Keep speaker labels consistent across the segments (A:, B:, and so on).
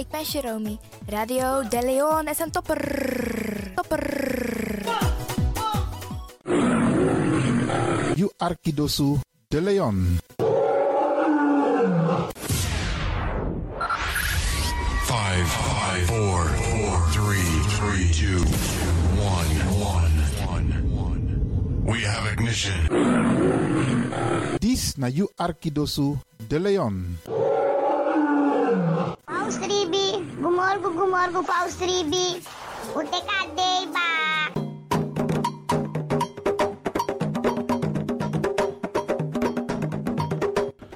A: ik ben Jerome. Radio De Leon is een topper. Topper.
B: You Arkidosu de Leon.
C: Five, five, four, four, three, three, two, one, one, one. We have ignition.
B: This na You Arkidosu de Leon.
D: Paus 3B, gumorgo, gumorgo, Paus 3B. O TKD, ba.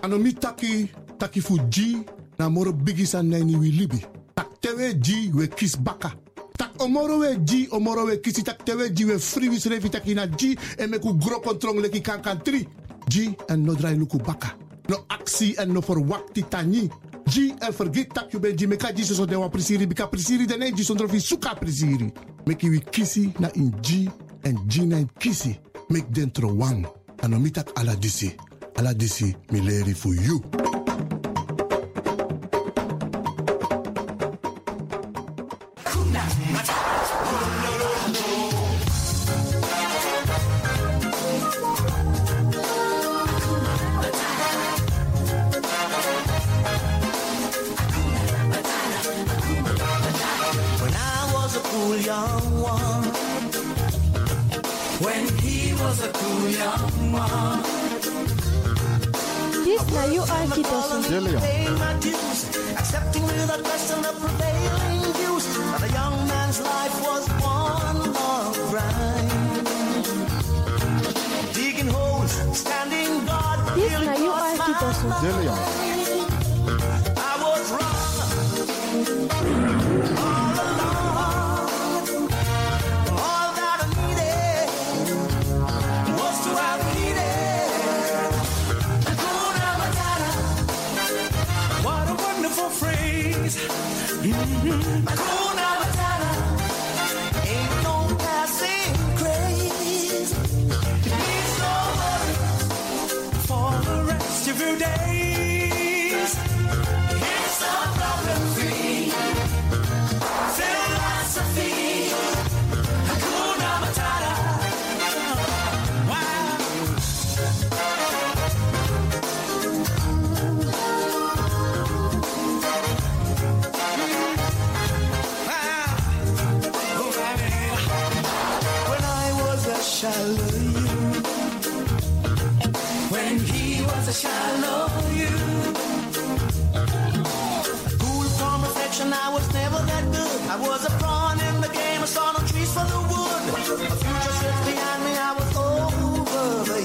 E: ano mi taki taki fu gi na moro bigi san naini wi libi tak tewe gi we kis baka tak omoro we gi omoro we kisi tak tewe gi we fri wi srevi taki na gi e meku gro kontrong leki kankan tri gi en no drai luku baka no aksi en no forwakti tani gi en forgit tak yu ben gi meka gi soso den wan prisiri bika prisiri den e gi sondro fi suka prisiri meki wi kisi na in gi en gi na in kisi mek den tro wan ano mi tak ala disi ala disi mi leri fu yu
F: When I was a cool young one. When he was a cool young one.
G: This na you are Kitosu.
B: De Leon.
F: Pay my dues, accepting without question the prevailing views. But a young man's life was one long grind. Digging holes, standing guard,
G: This
F: feeling
G: na you
F: for a
G: are
F: smile.
G: Kitosu.
B: De Leon.
F: I was wrong. All along. All that I needed was to have needed. Hakuna Matata. What a wonderful phrase. Mhm. Hakuna Matata. Ain't no passing craze. It means no worry for the rest of your days. It's a problem-free philosophy. Hakuna Matata. Wow. Wow. Oh, baby. When I was a Shallow you. When he was a shallow you. Cool from reflection, I was never that good. I was a pawn in the game, I saw no trees for the wood. A future sits behind me, I was over the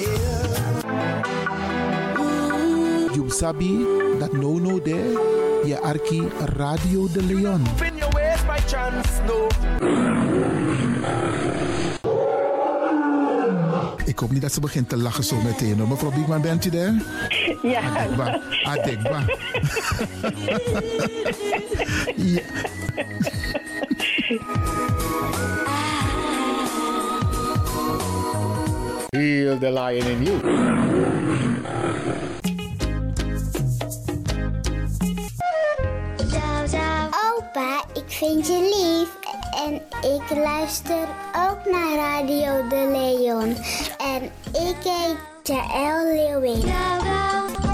F: hill.
B: You sabi that no no there. You Arki Radio de Leon.
F: In your ways by chance, no.
B: Ik hoop niet dat ze begint te lachen zo meteen. hoor. Mevrouw Biekman, bent u daar? Ja. Adekba. Adekba. ja.
H: Feel the lion in you.
D: Opa, ik vind je lief en ik luister ook naar Radio De Leon. En ik heet Jaël Leeuwen.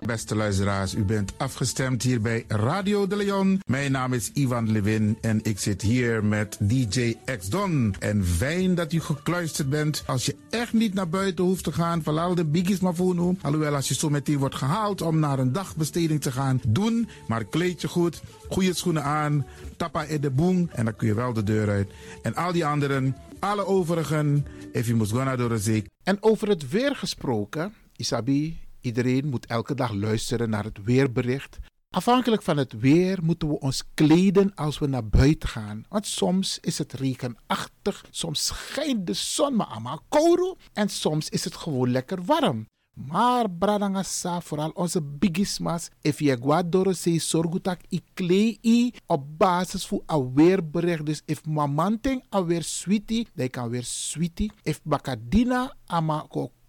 B: Beste luisteraars, u bent afgestemd hier bij Radio de Leon. Mijn naam is Ivan Levin en ik zit hier met DJ X-Don. En fijn dat u gekluisterd bent. Als je echt niet naar buiten hoeft te gaan, verlaal de biggies maar voor nu. Alhoewel, als je zo meteen wordt gehaald om naar een dagbesteding te gaan, doen. Maar kleed je goed, goede schoenen aan, tappa in de boem en dan kun je wel de deur uit. En al die anderen, alle overigen, if you must go naar door de zee. En over het weer gesproken, Isabi, Iedereen moet elke dag luisteren naar het weerbericht. Afhankelijk van het weer moeten we ons kleden als we naar buiten gaan. Want soms is het regenachtig, soms schijnt de zon maar allemaal kouro en soms is het gewoon lekker warm.
I: Maar bradanga sa vooral onze bigismas. If je guadoro se sorgutak i klei i op basis voor aweerbericht. Dus if mamanting aweer sweetie, dan kan weer sweetie. If bakadina ama ko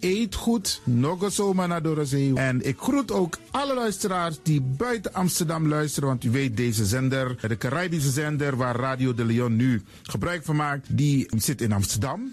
B: eet goed. Nog eens zomaar naar Dorozee. En ik groet ook alle luisteraars die buiten Amsterdam luisteren. Want u weet, deze zender, de Caribische zender waar Radio de Leon nu gebruik van maakt, die zit in Amsterdam.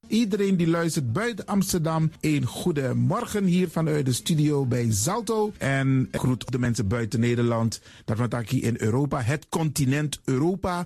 B: Iedereen die luistert buiten Amsterdam, een goede morgen hier vanuit de studio bij Zalto. En ik groet de mensen buiten Nederland, dat we het hier in Europa, het continent Europa.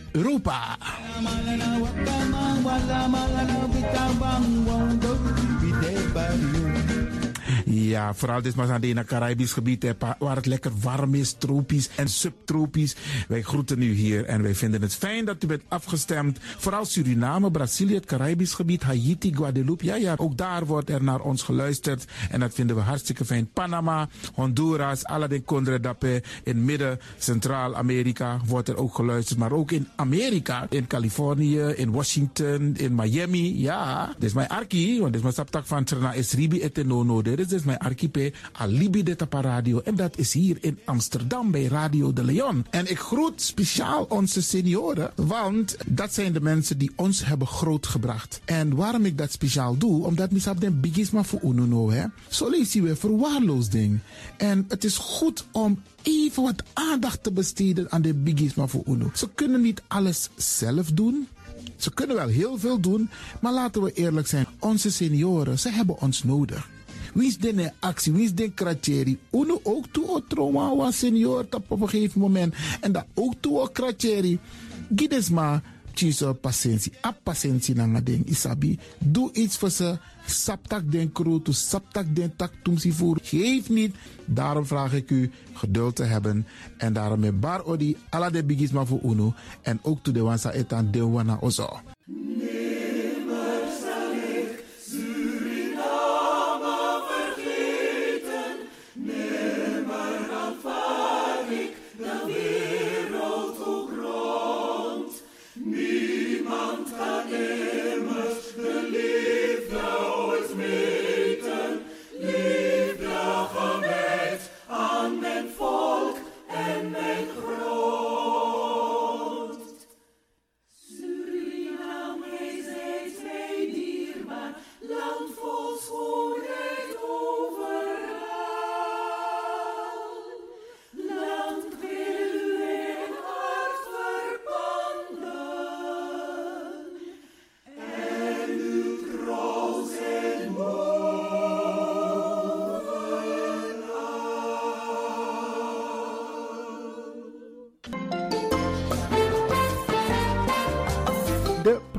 B: Europa. Ja, vooral dit maar aan het Caribisch gebied, hè, pa- waar het lekker warm is, tropisch en subtropisch. Wij groeten u hier en wij vinden het fijn dat u bent afgestemd. Vooral Suriname, Brazilië, het Caribisch gebied, Haiti, Guadeloupe. Ja, ja, ook daar wordt er naar ons geluisterd en dat vinden we hartstikke fijn. Panama, Honduras, Aladdin Condre Dapé, in Midden, Centraal-Amerika wordt er ook geluisterd. Maar ook in Amerika, in Californië, in Washington, in Miami. Ja, dit is mijn arki, want dit is mijn saptak van Trena Esribi et Nono. Dit is dus mijn archipel Alibi de Tapa Radio. En dat is hier in Amsterdam bij Radio de Leon. En ik groet speciaal onze senioren, want dat zijn de mensen die ons hebben grootgebracht. En waarom ik dat speciaal doe, omdat misap den bigisma voor ununo, hè. Zo lezen we verwaarloosding. En het is goed om even wat aandacht te besteden aan de bigisma voor uno. Ze kunnen niet alles zelf doen. Ze kunnen wel heel veel doen, maar laten we eerlijk zijn. Onze senioren, ze hebben ons nodig. Wie is de actie, wie is de kratjeri? Uno ook toe o trauma was senior tap op een gegeven moment. En dat ook toe o kratjeri. Gides maar, tjiso patiëntie. A patiëntie na nga ding, isabi. Doe iets voor ze. Saptak den kroto, saptak den tak tumsi voer. Geef niet. Daarom vraag ik u geduld te hebben. En daarom met bar odi, ala de bigisma voor uno. En ook toe de wansa etan de wana ozo. De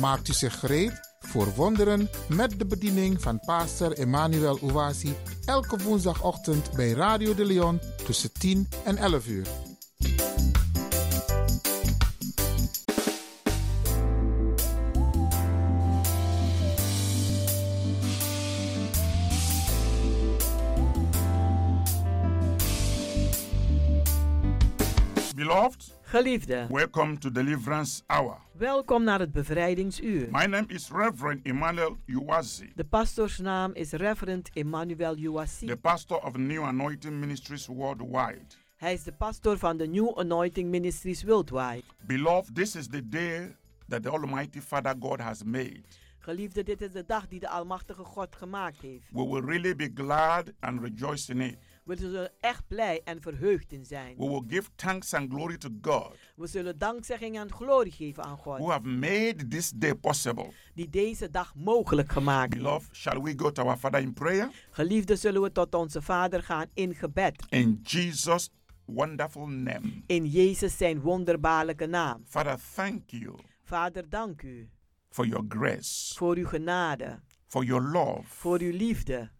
J: Maakt u zich gereed voor wonderen met de bediening van pastor Emmanuel Owasi elke woensdagochtend bij Radio de Leon tussen 10 en 11 uur.
B: Beloved,
K: Geliefde,
B: welcome to Deliverance Hour.
K: welkom naar het bevrijdingsuur.
B: My name is Reverend Emmanuel Uwazi,
K: De pastoorsnaam is Reverend Emmanuel Uwasi.
B: the pastor of New Anointing Ministries Worldwide.
K: Hij is de pastoor van de New Anointing Ministries Worldwide.
B: Beloved, this is the day that the Almighty Father God has made.
K: Geliefde, dit is de dag die de Almachtige God gemaakt heeft.
B: We will really be glad and rejoice in it.
K: We zullen echt blij en verheugd in zijn.
B: We will give thanks and glory to God
K: We zullen dankzegging en glorie geven aan
B: who
K: God,
B: have made this day possible.
K: die deze dag mogelijk gemaakt heeft.
B: Beloved, shall we go to our Father in prayer?
K: Geliefde, zullen we tot onze Vader gaan in gebed.
B: In Jesus' wonderful name.
K: In Jezus zijn wonderbaarlijke naam.
B: Father, thank you
K: Vader, dank u
B: for your grace,
K: voor uw genade,
B: for your love.
K: voor uw liefde.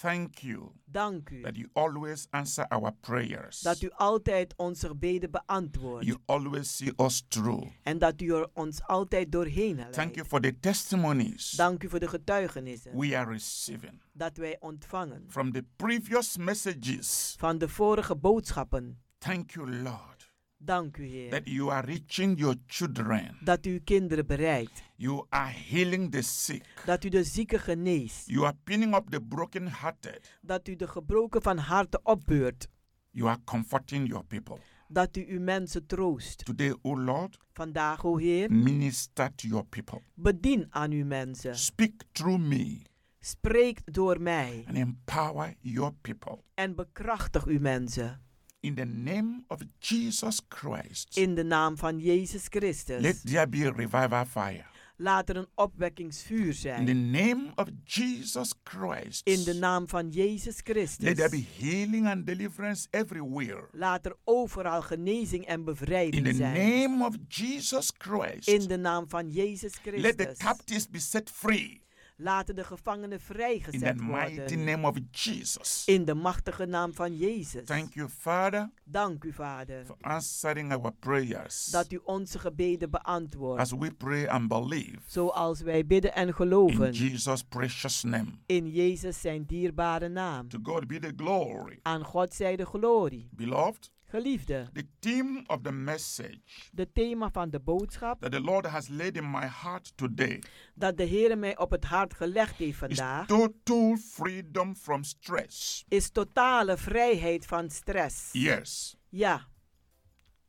B: Thank you
K: Dank u
B: that you always answer our prayers.
K: dat u altijd onze gebeden beantwoordt.
B: you always see us through.
K: En dat u er ons altijd doorheen
B: Thank
K: leidt.
B: you for the testimonies
K: Dank u voor de getuigenissen
B: we are receiving
K: dat wij ontvangen
B: from the previous messages.
K: van de vorige boodschappen.
B: Thank you, Lord,
K: Dank u, Heer,
B: that you are reaching your children.
K: dat u uw kinderen bereikt,
B: You are healing the sick.
K: dat u de zieken geneest,
B: You are pinning up the brokenhearted.
K: dat u de gebroken van harte opbeurt,
B: You are comforting your people.
K: dat u uw mensen troost.
B: Today, O Lord,
K: Vandaag, o
B: Mm.
K: Heer,
B: minister to your people.
K: bedien aan uw mensen.
B: Speak through me
K: Spreek door mij
B: and empower your people.
K: en bekrachtig uw mensen.
B: In the name of Jesus Christ,
K: In de naam van Jezus Christus.
B: let there be a revival fire.
K: Laat er een opwekkingsvuur
B: In the
K: zijn.
B: name of Jesus Christ,
K: In de naam van Jezus
B: let there be
K: Christus.
B: healing and deliverance everywhere.
K: Laat er overal genezing en
B: In the
K: bevrijding zijn.
B: name of Jesus Christ,
K: In de naam van Jezus
B: let the
K: Christus.
B: captives be set free.
K: Laten de gevangenen
B: In the
K: vrijgezet
B: mighty
K: worden.
B: name of Jesus.
K: In de machtige naam van Jezus.
B: Thank you, Father,
K: Dank u, Vader,
B: for answering our prayers
K: dat u onze gebeden beantwoordt.
B: as we pray and believe.
K: Zoals wij bidden en
B: In
K: geloven.
B: Jesus' precious name.
K: In Jezus zijn dierbare naam.
B: To God be the glory.
K: Aan God zij de glorie.
B: Beloved,
K: Geliefde,
B: the theme of the message
K: de thema van de boodschap
B: that the Lord has laid in my heart today
K: dat de Heer mij op het hart gelegd heeft
B: is
K: vandaag
B: total freedom from stress.
K: is totale vrijheid van stress.
B: Yes,
K: Ja,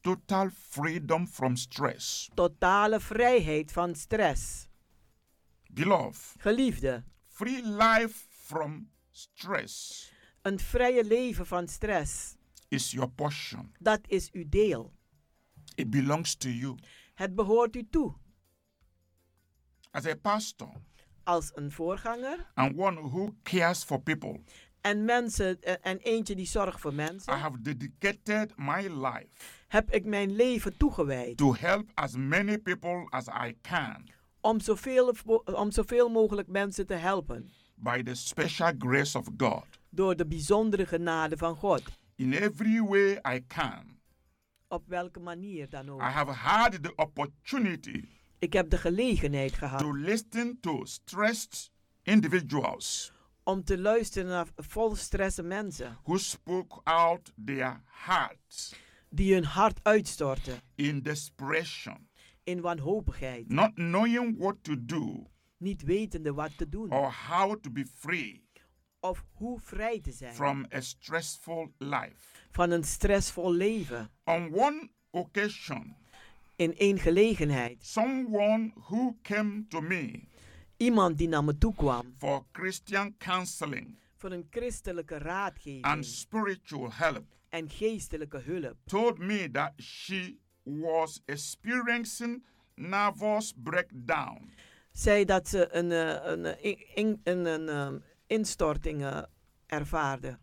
B: total freedom from stress.
K: totale vrijheid van stress.
B: Beloved,
K: Geliefde,
B: free life from stress
K: een vrije leven van stress,
B: is your portion.
K: dat is uw deel.
B: It belongs to you.
K: Het behoort u toe.
B: As a pastor
K: Als een voorganger
B: and one who cares for people,
K: en mensen eh, en eentje die zorgt voor
B: I
K: mensen,
B: have dedicated my life
K: heb ik mijn leven toegewijd
B: to help as many people as I can
K: om zoveel, om zoveel mogelijk mensen te helpen.
B: by the special grace of God.
K: Door de bijzondere genade van God.
B: In every way I can,
K: Op welke manier dan ook.
B: I have had the opportunity
K: Ik heb de gelegenheid gehad
B: to listen to stressed individuals
K: om te luisteren naar vol stressen mensen
B: who spoke out their hearts
K: die hun hart uitstorten
B: in desperation,
K: in wanhopigheid,
B: not knowing what to do
K: niet wetende wat te doen
B: or how to be free
K: of hoe vrij te zijn
B: from a stressful life.
K: van een stressvol leven.
B: On one occasion,
K: In één gelegenheid,
B: someone who came to me
K: iemand die naar me toe kwam
B: for Christian counseling
K: voor een christelijke
B: and
K: raadgeving
B: spiritual help
K: en geestelijke hulp,
B: told me that she was experiencing nervous breakdown.
K: zei dat ze een, eh, een, eh, in- in- een, een, ehm, instorting eh, ervaarde.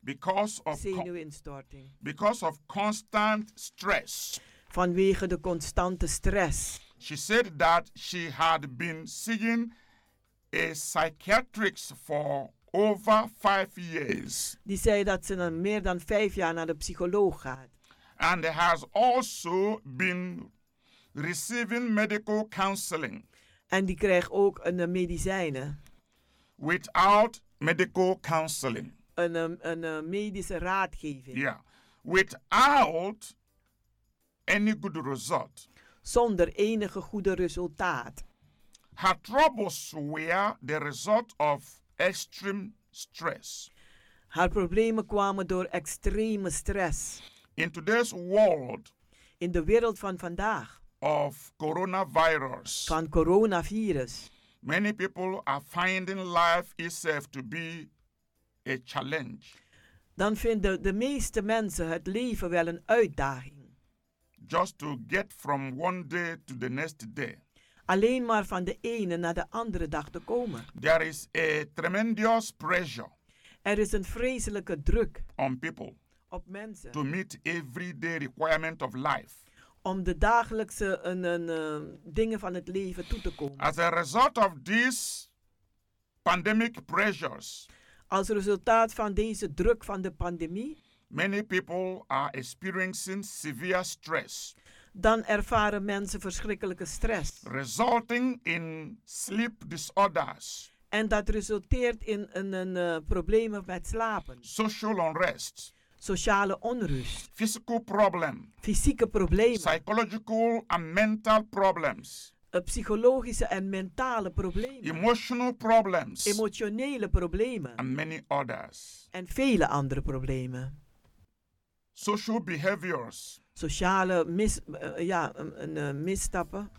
B: Because of
K: Zenuwinstorting.
B: Because of constant stress.
K: Vanwege de constante stress.
B: She said that she had been seeing a psychiatrist for over five years
K: Die zei dat ze dan meer dan vijf jaar naar de psycholoog gaat.
B: and has also been receiving medical counseling
K: En die krijgt ook een eh, medicijnen.
B: without medical counseling.
K: Een, eh, een eh, medische raadgeving.
B: Yeah. Without any good result.
K: Zonder enige goede resultaat.
B: Her troubles were the result of extreme stress.
K: Haar problemen kwamen door extreme stress.
B: In today's world
K: In de wereld van vandaag.
B: of coronavirus.
K: Van coronavirus.
B: Many people are finding life itself to be a challenge.
K: Dan vinden de meeste mensen het leven wel een uitdaging.
B: Just to get from one day to the next day.
K: Alleen maar van de ene naar de andere dag te komen.
B: There is a tremendous pressure
K: Er is een vreselijke druk
B: on people
K: op mensen
B: to meet everyday requirement of life.
K: om de dagelijkse een, een, eh, dingen van het leven toe te komen.
B: As a result of these pandemic pressures,
K: Als resultaat van deze druk van de pandemie,
B: many people are experiencing severe stress,
K: dan ervaren mensen verschrikkelijke stress.
B: resulting in sleep disorders,
K: En dat resulteert in een, een, eh, problemen met slapen,
B: social unrest,
K: sociale onrust,
B: physical problem,
K: fysieke problemen,
B: psychological and mental problems,
K: eh, psychologische en mentale problemen,
B: emotional problems,
K: emotionele problemen
B: and many others.
K: en vele andere problemen.
B: Social behaviors
K: Sociale mis, eh, ja, een, een, eh, misstappen,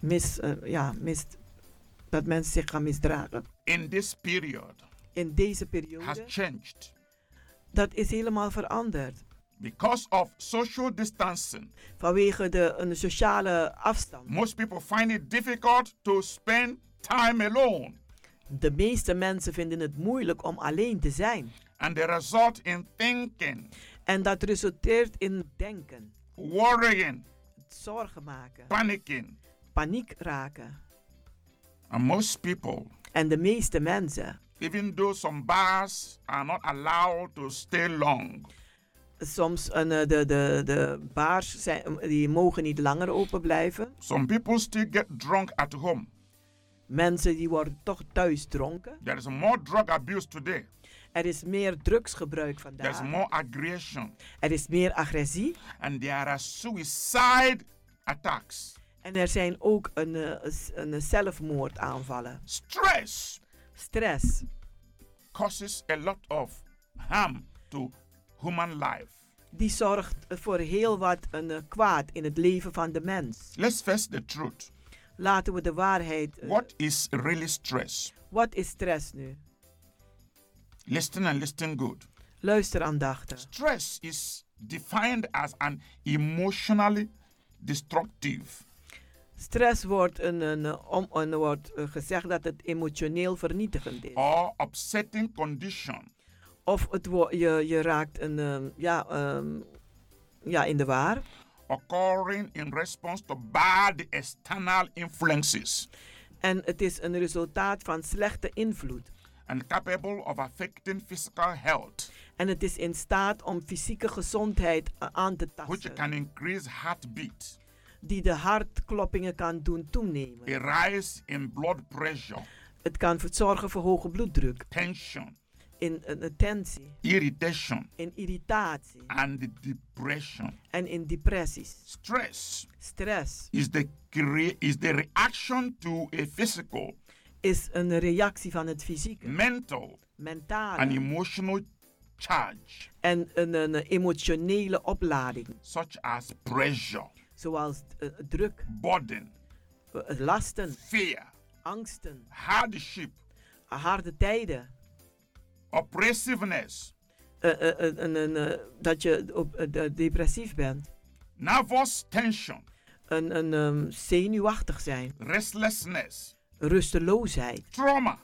K: mis, eh, ja, mis, dat mensen zich gaan misdragen.
B: in this period
K: In deze
B: has
K: periode,
B: changed
K: dat is helemaal veranderd.
B: because of social distancing.
K: Vanwege de een sociale afstand.
B: Most people find it difficult to spend time alone,
K: De meeste mensen vinden het moeilijk om alleen te zijn.
B: and the result in thinking,
K: En dat resulteert in denken,
B: worrying,
K: zorgen maken,
B: panicking,
K: paniek raken.
B: and most people.
K: En de meeste mensen,
B: Even though some bars are not allowed to stay long,
K: soms eh, de, de, de baars zijn, eh, die mogen niet langer open blijven.
B: some people still get drunk at home.
K: Mensen die worden toch thuis dronken.
B: There is more drug abuse today.
K: Er is meer drugsgebruik
B: There's
K: vandaag.
B: more aggression.
K: Er is meer agressie.
B: And there are suicide attacks.
K: En er zijn ook een, eh, s- een, eh, zelfmoordaanvallen.
B: Stress
K: Stress
B: causes a lot of harm to human life.
K: die zorgt voor heel wat een, eh, kwaad in het leven van de mens.
B: Let's face the truth.
K: Laten we de waarheid. eh,
B: What is really stress?
K: wat is stress nu?
B: Listen and listen good.
K: Luister aandachtig.
B: Stress is defined as an emotionally destructive
K: Stress wordt, een, een, eh, om, een, wordt eh, gezegd dat het emotioneel vernietigend is.
B: or upsetting condition
K: Of het wo- je, je raakt een, ehm, ja, ehm, ja, in de waar.
B: occurring in response to bad external influences
K: En het is een resultaat van slechte invloed.
B: and capable of affecting physical health.
K: En het is in staat om fysieke gezondheid eh, aan te
B: which
K: tasten.
B: can increase heartbeat,
K: Die de hartkloppingen kan doen toenemen.
B: a rise in blood pressure,
K: Het kan voor- zorgen voor hoge bloeddruk.
B: tension,
K: In een tensie.
B: irritation,
K: In irritatie.
B: and depression.
K: En in depressies.
B: Stress
K: Stress
B: is the crea- is the reaction to a physical,
K: is een reactie van het fysieke,
B: mental, and
K: mentale
B: emotional charge,
K: en een, een emotionele oplading,
B: such as pressure,
K: zoals eh, druk,
B: burden,
K: eh, lasten,
B: fear,
K: angsten,
B: hardship,
K: harde tijden.
B: oppressiveness,
K: Eh, eh, eh, een- een, eh, dat je op, eh, de- depressief bent.
B: nervous tension,
K: Een een, een ehm, zenuwachtig zijn.
B: restlessness,
K: Rusteloosheid.
B: trauma,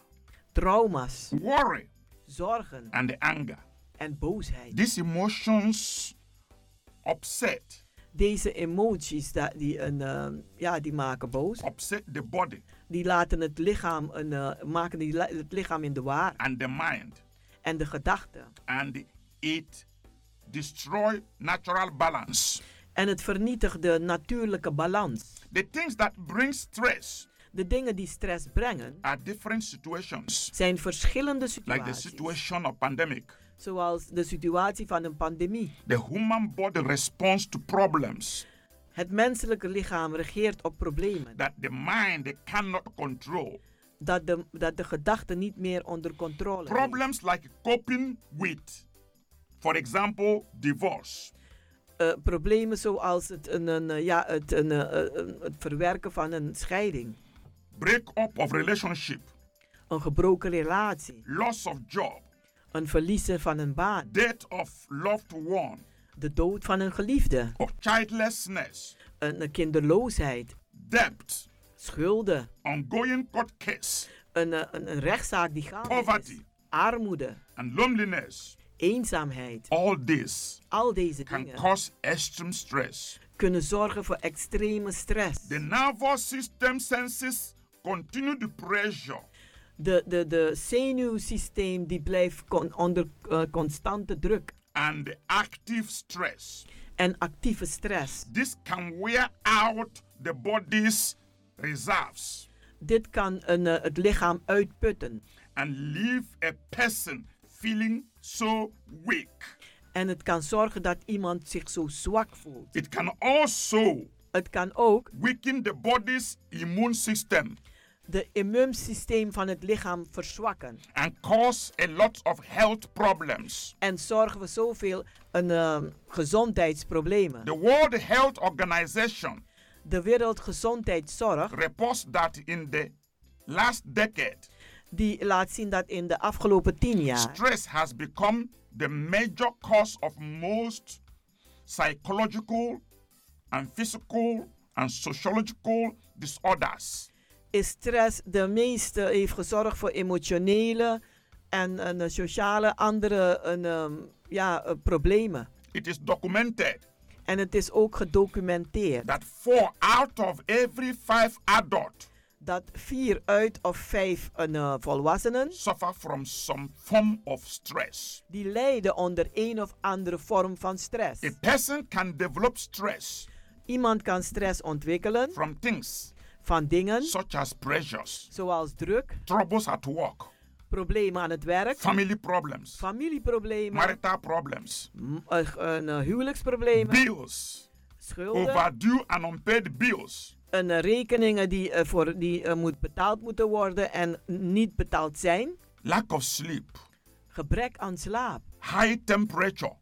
K: Trauma's.
B: worry,
K: Zorgen.
B: and anger.
K: En boosheid.
B: These emotions upset,
K: Deze emoties da- die, een, ehm, ja, die maken boos.
B: upset the body
K: Die laten het lichaam, een, eh, maken die, li- het lichaam in de waar.
B: and the mind,
K: En de gedachten.
B: and it destroy natural balance.
K: En het vernietigt de natuurlijke balans.
B: The things that bring stress
K: De dingen die stress brengen
B: are different situations,
K: zijn verschillende
B: like the
K: situaties.
B: situation of pandemic.
K: Zoals de situatie van een pandemie.
B: The human body responds to problems
K: Het menselijke lichaam reageert op problemen.
B: that the mind cannot control.
K: Dat de, dat de gedachten niet meer onder controle zijn.
B: Problems like coping with, for example, divorce,
K: Eh, problemen zoals het, een, een, eh, ja, het, een, eh, eh, een- het verwerken van een scheiding.
B: breakup of relationship,
K: Een gebroken relatie.
B: loss of job,
K: Een verliezen van een baan.
B: death of loved one,
K: De dood van een geliefde.
B: or childlessness,
K: Een, een kinderloosheid.
B: debt,
K: Schulden.
B: ongoing court case,
K: Een, eh, een, een rechtszaak die gaande is.
B: poverty,
K: Armoede.
B: and loneliness.
K: Eenzaamheid.
B: All this
K: Al deze
B: can
K: dingen
B: cause extreme stress.
K: kunnen zorgen voor extreme stress.
B: The nervous system senses continued pressure
K: De, de, de zenuwsysteem die blijft con- onder eh, constante druk
B: and active stress.
K: en actieve stress.
B: This can wear out the body's reserves
K: Dit kan een, eh, het lichaam uitputten
B: and leave a person feeling so weak.
K: en het kan zorgen dat iemand zich zo zwak voelt.
B: It can also
K: Het kan ook
B: weaken the body's immune system
K: de immuunsysteem van het lichaam verzwakken
B: and cause a lot of health problems.
K: en zorgen we zoveel een, eh, gezondheidsproblemen.
B: The World Health Organization
K: De Wereldgezondheidszorg
B: reports that in the last decade,
K: die laat zien dat in de afgelopen tien jaar
B: stress has become the major cause of most psychological and physical and sociological disorders.
K: is stress de meeste heeft gezorgd voor emotionele en, en eh, sociale andere en, ehm, ja, eh, problemen.
B: It is documented
K: En het is ook gedocumenteerd
B: that four out of every five adults
K: dat vier uit of vijf en, eh, volwassenen
B: suffer from some form of stress.
K: die lijden onder een of andere vorm van stress.
B: A person can develop stress
K: Iemand kan stress ontwikkelen
B: from things
K: van dingen
B: such as pressures,
K: zoals druk,
B: troubles at work,
K: problemen aan het werk,
B: family problems,
K: familieproblemen,
B: marital problems,
K: m- eh, een, eh, huwelijksproblemen,
B: bills,
K: schulden.
B: overdue and unpaid bills,
K: een eh, rekeningen die, eh, voor, die eh, moet betaald moeten worden en niet betaald zijn.
B: lack of sleep,
K: Gebrek aan slaap.
B: high temperature,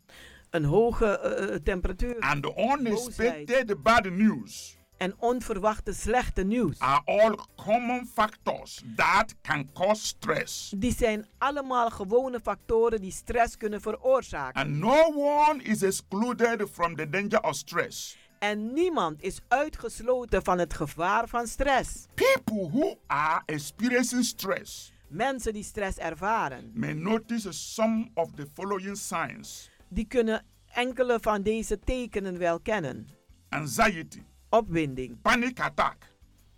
K: Een hoge eh, eh, temperatuur.
B: and unexpected bad news
K: En onverwachte slechte nieuws.
B: are all common factors that can cause stress.
K: Die zijn allemaal gewone factoren die stress kunnen veroorzaken.
B: And no one is excluded from the danger of stress.
K: En niemand is uitgesloten van het gevaar van stress.
B: People who are experiencing stress
K: Mensen die stress ervaren,
B: may notice some of the following signs
K: die kunnen enkele van deze tekenen wel kennen.
B: anxiety,
K: Opwinding,
B: panic attack,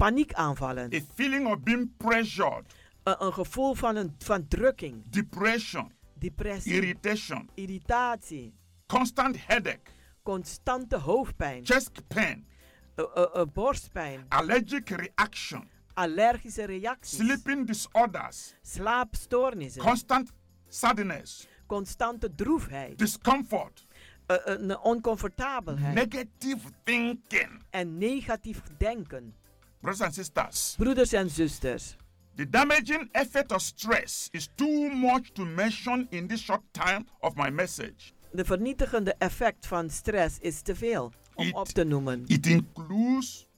K: paniekaanvallen,
B: a feeling of being pressured,
K: een, een gevoel van, een, van drukking,
B: depression,
K: depressie,
B: irritation,
K: irritatie,
B: constant headache,
K: constante hoofdpijn,
B: chest pain,
K: eh, eh, eh, borstpijn,
B: allergic reaction,
K: allergische reacties,
B: sleeping disorders,
K: slaapstoornissen,
B: constant sadness,
K: constante droefheid,
B: discomfort,
K: eh, een oncomfortabelheid
B: negative thinking.
K: en negatief denken.
B: Brothers and sisters,
K: Broeders en zusters,
B: the damaging effect of stress is too much to mention in this short time of my message.
K: de vernietigende effect van stress is te veel om
B: It-
K: op te noemen.
B: It includes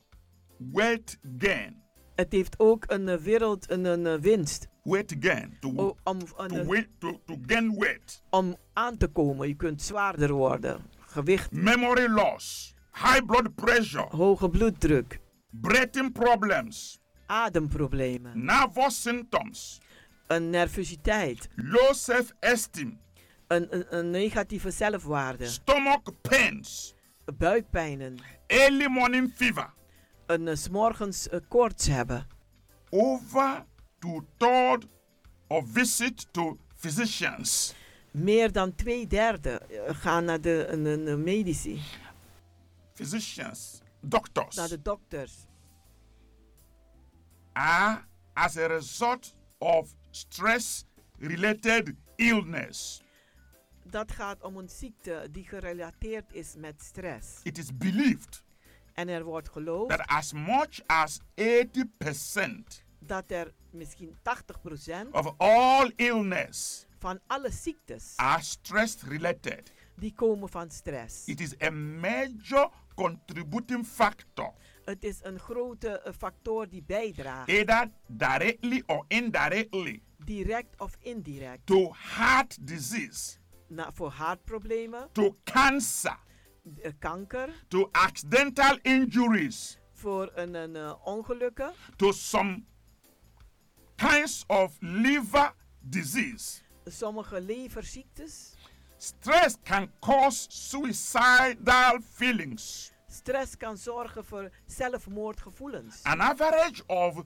B: weight gain,
K: Het heeft ook een eh, wereld, een, een eh, winst
B: weight gain to,
K: o- om, een,
B: to,
K: eh,
B: weight, to, to gain weight,
K: om aan te komen. Je kunt zwaarder worden. Gewicht,
B: memory loss, high blood pressure,
K: hoge bloeddruk,
B: breathing problems,
K: ademproblemen,
B: nervous symptoms,
K: een nervositeit,
B: low self-esteem,
K: een, een, een negatieve zelfwaarde,
B: stomach pains,
K: buikpijnen,
B: early morning fever.
K: een eh, 's morgens eh, koorts hebben.
B: Over two third of visit to physicians
K: Meer dan twee derde eh, gaan naar de een, een, een medici,
B: physicians doctors
K: naar de dokters.
B: are as a result of stress related illness.
K: Dat gaat om een ziekte die gerelateerd is met stress.
B: It is believed
K: En er wordt geloofd
B: that as much as 80%
K: dat er misschien 80%
B: of all illness
K: van alle ziektes
B: are stress related.
K: die komen van stress.
B: It is a major contributing factor,
K: Het is een grote eh, factor die bijdraagt,
B: either directly or indirectly,
K: direct of indirect,
B: to heart disease,
K: na, voor hartproblemen,
B: to cancer,
K: eh, kanker,
B: to accidental injuries,
K: voor een, een, eh, ongelukken,
B: to some kinds of liver disease.
K: sommige leverziektes.
B: Stress can cause suicidal feelings.
K: Stress kan zorgen voor zelfmoordgevoelens.
B: An average of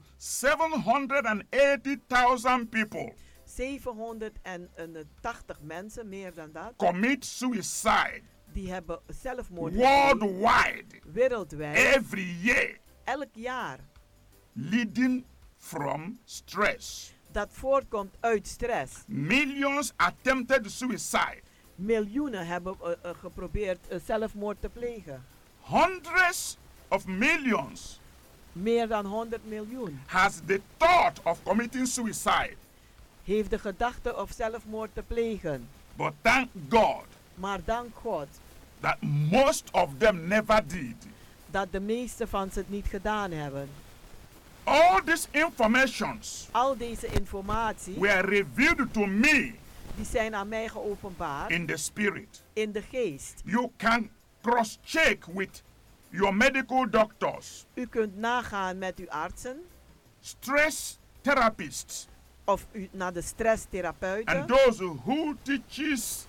B: 780,000 people
K: 780 eh, mensen, meer dan dat,
B: commit suicide
K: die hebben zelfmoord gepleegd.
B: worldwide
K: Wereldwijd,
B: every year,
K: elk jaar.
B: leading from stress.
K: Dat voortkomt uit stress.
B: Millions attempted suicide,
K: Miljoenen hebben eh, eh, geprobeerd eh, zelfmoord te plegen.
B: hundreds of millions
K: Meer dan 100 miljoen
B: has the thought of committing suicide.
K: heeft de gedachte of zelfmoord te plegen.
B: But thank God
K: Maar dank God
B: that most of them never did.
K: dat de meeste van ze het niet gedaan hebben.
B: All these informations
K: Al deze informatie
B: were revealed to me
K: die zijn aan mij geopenbaard
B: in the spirit.
K: in de geest.
B: You can cross check with your medical doctors,
K: U kunt nagaan met uw artsen
B: stress therapists,
K: of u naar de stresstherapeuten
B: and those who teaches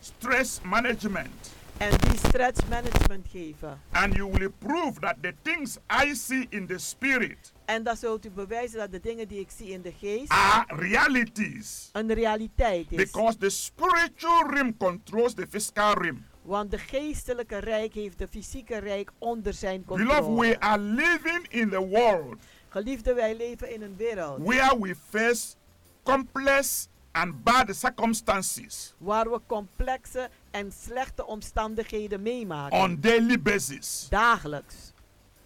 B: stress management.
K: en die stressmanagement geven.
B: And you will prove that the things I see in the spirit
K: En dan zult u bewijzen dat de dingen die ik zie in de geest
B: are realities.
K: een realiteit is.
B: Because the spiritual realm controls the physical realm.
K: Want de geestelijke rijk heeft de fysieke rijk onder zijn
B: Beloved, we
K: controle.
B: are living in the world
K: Geliefde, wij leven in een wereld
B: where we face complex and bad circumstances
K: waar we complexe en slechte omstandigheden meemaken.
B: on daily basis
K: Dagelijks.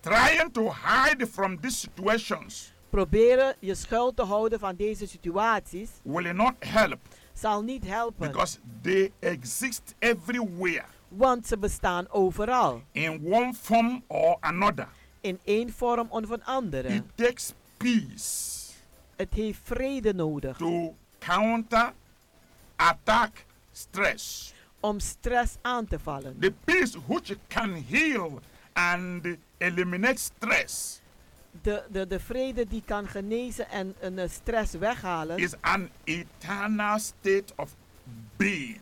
B: trying to hide from these situations
K: Proberen je schuil te houden van deze situaties
B: will not help
K: zal niet helpen,
B: because they exist everywhere
K: want ze bestaan overal.
B: in one form or another
K: In één vorm of een andere.
B: it takes peace
K: Het heeft vrede nodig
B: to counter attack stress
K: om stress aan te vallen.
B: the peace which can heal and eliminate stress
K: De, de, de vrede die kan genezen en een eh, stress weghalen,
B: is an eternal state of being.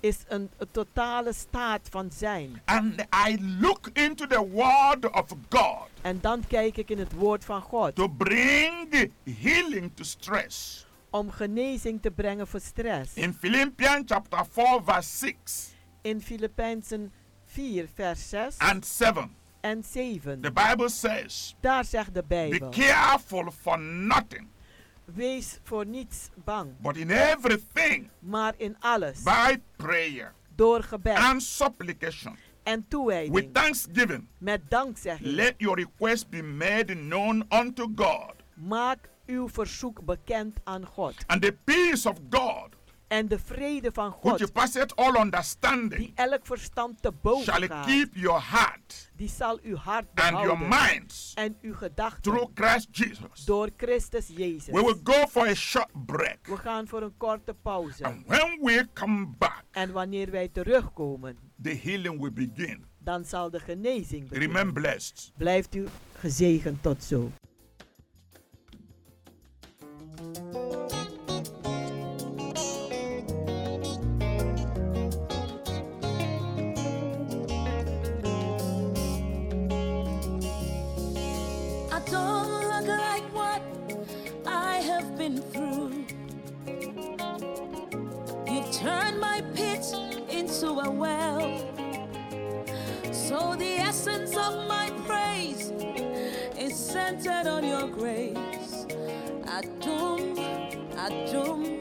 K: is een totale staat van zijn.
B: And I look into the Word of God
K: En dan kijk ik in het woord van God
B: to bring healing to stress.
K: om genezing te brengen voor stress.
B: In Philippians chapter 4, verse 6
K: In Filipijnsen 4, vers 6
B: and 7,
K: en 7.
B: the Bible says,
K: Daar zegt de
B: Be
K: Bijbel:
B: careful for nothing,
K: Wees voor niets bang,
B: but in everything
K: maar in alles,
B: by prayer
K: door gebed
B: and supplication,
K: en
B: with
K: toewijding,
B: thanksgiving,
K: met dankzegging.
B: let your requests be made known unto God.
K: Maak uw verzoek bekend aan God.
B: And the peace of God
K: En de vrede van
B: which
K: God,
B: passeth all
K: die
B: understanding,
K: elk verstand te
B: shall
K: boven gaat,
B: keep your heart
K: die zal uw hart
B: and your
K: behouden
B: minds
K: en uw
B: through
K: gedachten
B: Christ Jesus.
K: door Christus
B: We will
K: Jezus.
B: go for a short break.
K: We gaan voor een korte pauze.
B: Nou. And when we come back,
K: En wanneer wij terugkomen,
B: the healing will begin.
K: dan zal de genezing beginnen.
B: Remain blessed.
K: Blijft u gezegend tot zo.
L: I don't look like what I have been through. You turned my pit into a well. So the essence of my praise is centered on your grace. Adum, Adum,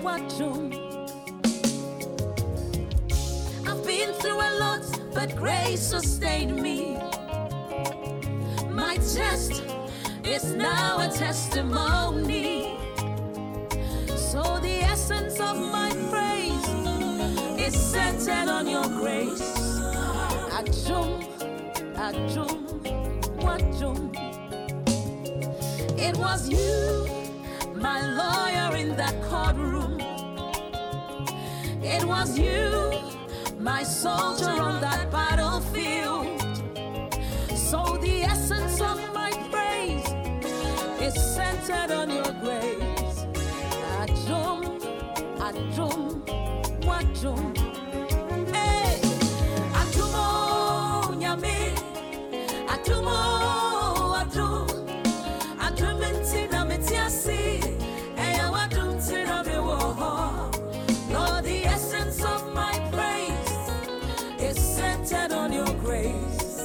L: Watum. I've been through a lot, but grace sustained me. My test is now a testimony. So the essence of my praise is centered on your grace. Achum, achum, wachum. It was you, my lawyer in that courtroom. It was you, my soldier on that battlefield. So the essence of my praise is centered on your grace. Adum, adum, wadum. Hey, atumo nyame, atumo adu, adum ntina metiasi, eya wadum ntina mewoho. Lord, the essence of my praise is centered on your grace.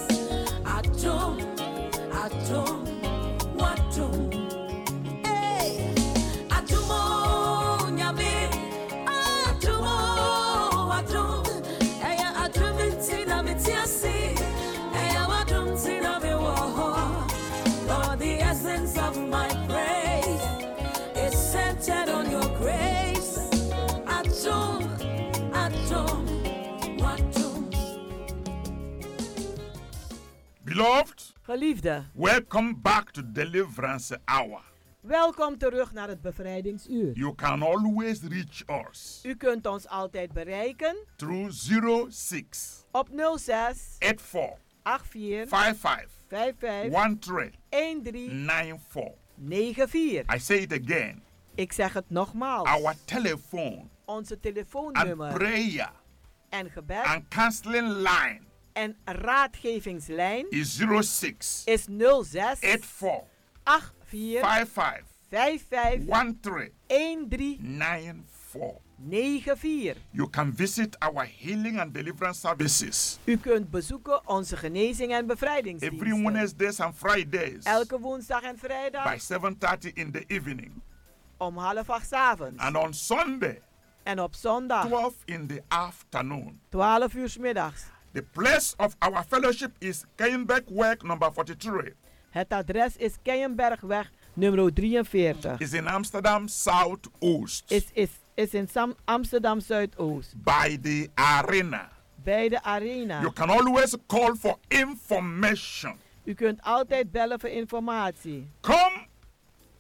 L: Atom, atom, watom. Hey, atomo nyame, atomo watom. Eya atom ntina metiasi, eya watom ntina mewoho. Lord, the essence of my praise is centered on your grace. Atom, atom, watom.
B: Beloved,
K: Geliefde,
B: welcome back to Deliverance Hour.
K: welkom terug naar het bevrijdingsuur.
B: You can always reach us
K: U kunt ons altijd bereiken
B: through 06
K: op 06
B: 84
K: 84
B: 55
K: 55
B: 13
K: 13
B: 94.
K: 94.
B: I say it again.
K: Ik zeg het nogmaals.
B: Our telephone
K: Onze
B: and
K: telefoonnummer
B: prayer
K: en gebed
B: and counseling line
K: en raadgevingslijn
B: is 06
K: is 06
B: 84
K: 84
B: 55
K: 55
B: 13
K: 13
B: 94.
K: 94.
B: You can visit our healing and deliverance services
K: U kunt bezoeken onze genezing en
B: every
K: bevrijdingsdiensten.
B: Wednesdays and Fridays
K: Elke woensdag en
B: by
K: vrijdag
B: 7:30 in the evening
K: om half acht 's avonds.
B: and on Sunday
K: En op zondag
B: 12 in the afternoon.
K: 12 uur 's middags.
B: The place of our fellowship is Kenbeck Work number 43.
K: Het adres is Keienbergweg nummer 43.
B: Is in Amsterdam South-Oost
K: Is, is, is in Sam- Amsterdam Zuidoost.
B: by the arena.
K: Bij de arena.
B: You can always call for information.
K: U kunt altijd bellen voor informatie.
B: Come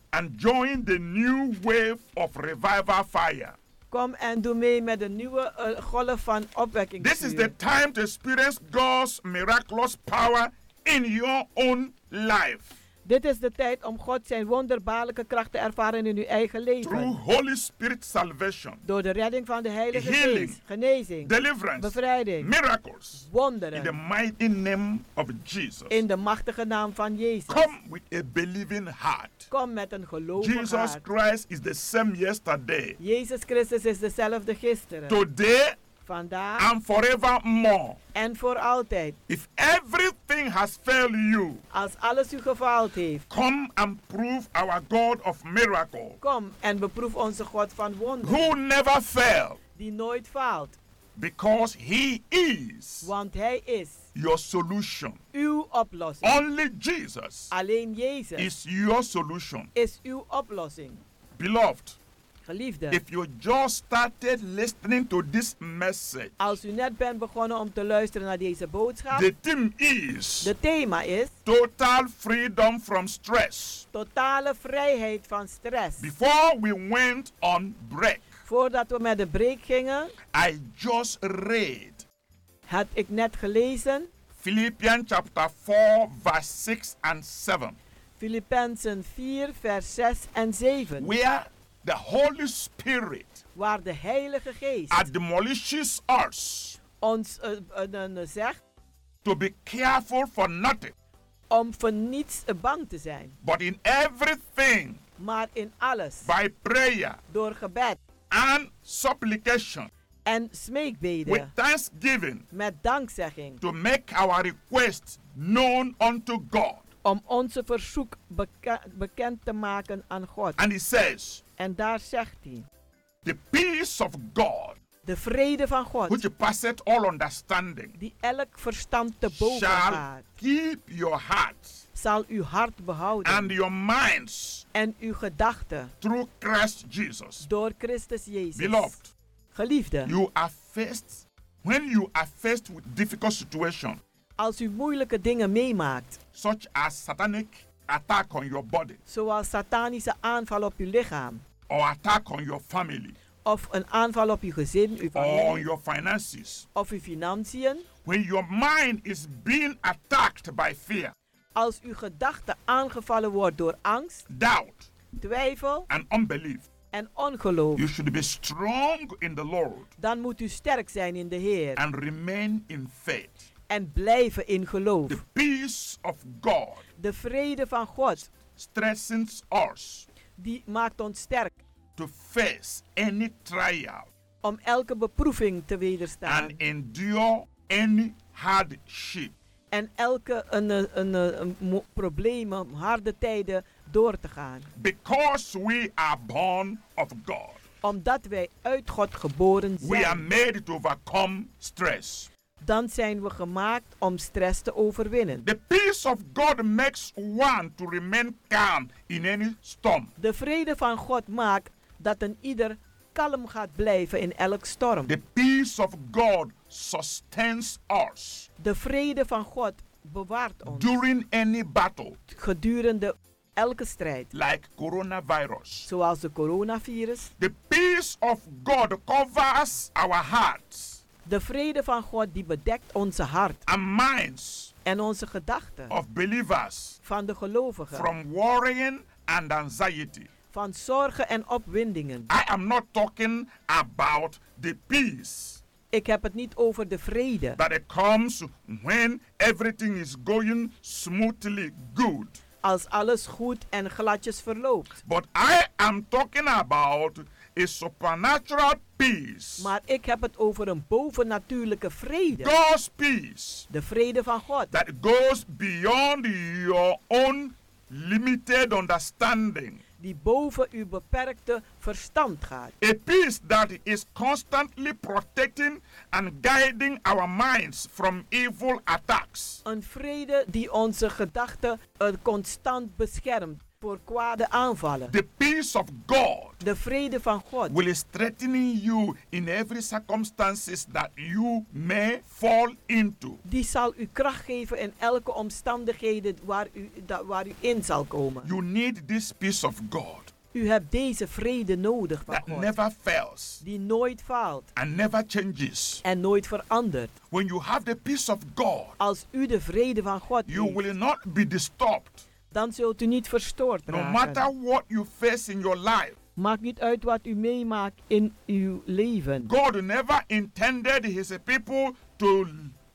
B: and join the new wave of revival fire.
K: Kom en doe mee met de nieuwe eh, golf van opwekking.
B: This is the time to experience God's miraculous power in your own life
K: Dit is de tijd om God zijn wonderbaarlijke kracht te ervaren in uw eigen
B: through
K: leven.
B: Holy Spirit salvation,
K: Door de redding van de Heilige
B: Healing.
K: Geest, genezing,
B: deliverance,
K: bevrijding,
B: miracles. In the
K: wonderen.
B: mighty name of Jesus.
K: In de machtige naam van Jezus.
B: Come with a believing heart.
K: Kom met een gelovig
B: Jesus
K: hart.
B: Christ is the same yesterday,
K: Jezus Christus is dezelfde gisteren,
B: today,
K: vandaag
B: and forevermore.
K: en voor altijd.
B: If everything has failed you,
K: Als alles u gefaald heeft,
B: come and prove our God of miracle,
K: kom en beproef onze God van wonderen,
B: who never fails,
K: die nooit faalt.
B: because He is
K: Want Hij is
B: your solution.
K: uw oplossing.
B: Only Jesus
K: Alleen Jezus
B: is your solution.
K: is uw oplossing.
B: Beloved,
K: Geliefde,
B: if you just started listening to this message,
K: als u net bent begonnen om te luisteren naar deze boodschap,
B: the theme is
K: de thema is
B: total freedom from stress.
K: totale vrijheid van stress.
B: Before we went on break,
K: Voordat we met de break gingen,
B: I just read
K: had ik net gelezen.
B: Philippians chapter 4, verse 6 and 7.
K: Filippenzen 4, vers 6 en 7.
B: Where the Holy Spirit
K: waar de Heilige Geest
B: admonishes us
K: ons eh, eh, eh, zegt
B: to be careful for nothing,
K: om voor niets eh, bang te zijn.
B: but in everything
K: Maar in alles,
B: by prayer
K: door gebed
B: and supplication
K: en
B: with
K: smeekbeden,
B: thanksgiving
K: met dankzegging,
B: to make our requests known unto God.
K: om onze verzoek beka- bekend te maken aan God.
B: And he says,
K: En daar zegt hij,
B: The peace of God,
K: de vrede van God,
B: which passeth all understanding,
K: die elk verstand te boven
B: shall
K: gaat,
B: keep your hearts
K: zal uw hart
B: and
K: behouden
B: your minds
K: en uw gedachten
B: through Christ Jesus.
K: door Christus Jezus.
B: Beloved,
K: Geliefde,
B: you are faced when you are faced with difficult situation
K: als u moeilijke dingen meemaakt,
B: such as satanic attack on your body
K: zoals satanische aanval op uw lichaam,
B: or attack on your family
K: of een aanval op uw gezin, uw
B: or on
K: familie,
B: your finances,
K: of uw financiën,
B: when your mind is being attacked by fear,
K: als uw gedachte aangevallen wordt door angst,
B: doubt,
K: twijfel
B: and unbelief,
K: en ongeloof,
B: you should be strong in the Lord
K: dan moet u sterk zijn in de Heer
B: and remain in faith.
K: en blijven in geloof.
B: The peace of God
K: De vrede van God,
B: strengthens us
K: die maakt ons sterk
B: to face any trial
K: om elke beproeving te wederstaan
B: and endure any hardship.
K: en elke een, eh, een, eh, een mo- problemen, harde tijden door te gaan.
B: Because we are born of God,
K: Omdat wij uit God geboren
B: we are
K: zijn,
B: made to overcome stress.
K: dan zijn we gemaakt om stress te overwinnen.
B: The peace of God makes one to remain calm in any storm.
K: De vrede van God maakt dat een ieder kalm gaat blijven in elk storm.
B: The peace of God sustains us
K: De vrede van God bewaart ons
B: during any battle,
K: gedurende elke strijd,
B: like coronavirus.
K: zoals de coronavirus.
B: The peace of God covers our hearts
K: De vrede van God die bedekt onze hart
B: and minds
K: en onze gedachten
B: of believers
K: van de gelovigen,
B: Oh. from worrying and anxiety.
K: van zorgen en opwindingen.
B: I am not talking about the peace
K: Ik heb het niet over de vrede
B: that it comes when everything is going smoothly good.
K: als alles goed en gladjes verloopt,
B: But I am talking about a supernatural peace.
K: maar ik heb het over een bovennatuurlijke vrede.
B: God's peace
K: De vrede van God.
B: that goes beyond your own limited understanding.
K: die boven uw beperkte verstand gaat.
B: A peace that is constantly protecting and guiding our minds from evil attacks.
K: Een vrede die onze gedachten eh, constant beschermt voor kwade aanvallen.
B: The peace of God
K: De vrede van God
B: will strengthen you in every circumstances that you may fall into.
K: die zal u kracht geven in elke omstandigheden waar u, da- waar u in zal komen.
B: You need this peace of God
K: U hebt deze vrede nodig van
B: that
K: God,
B: never fails
K: die nooit faalt
B: and never changes.
K: en nooit verandert.
B: When you have the peace of God,
K: Als u de vrede van God
B: you
K: heeft,
B: will not be disturbed.
K: dan zult u niet verstoord
B: No matter
K: raken.
B: what you face in your life,
K: Maakt niet uit wat u meemaakt in uw leven.
B: God never intended his people to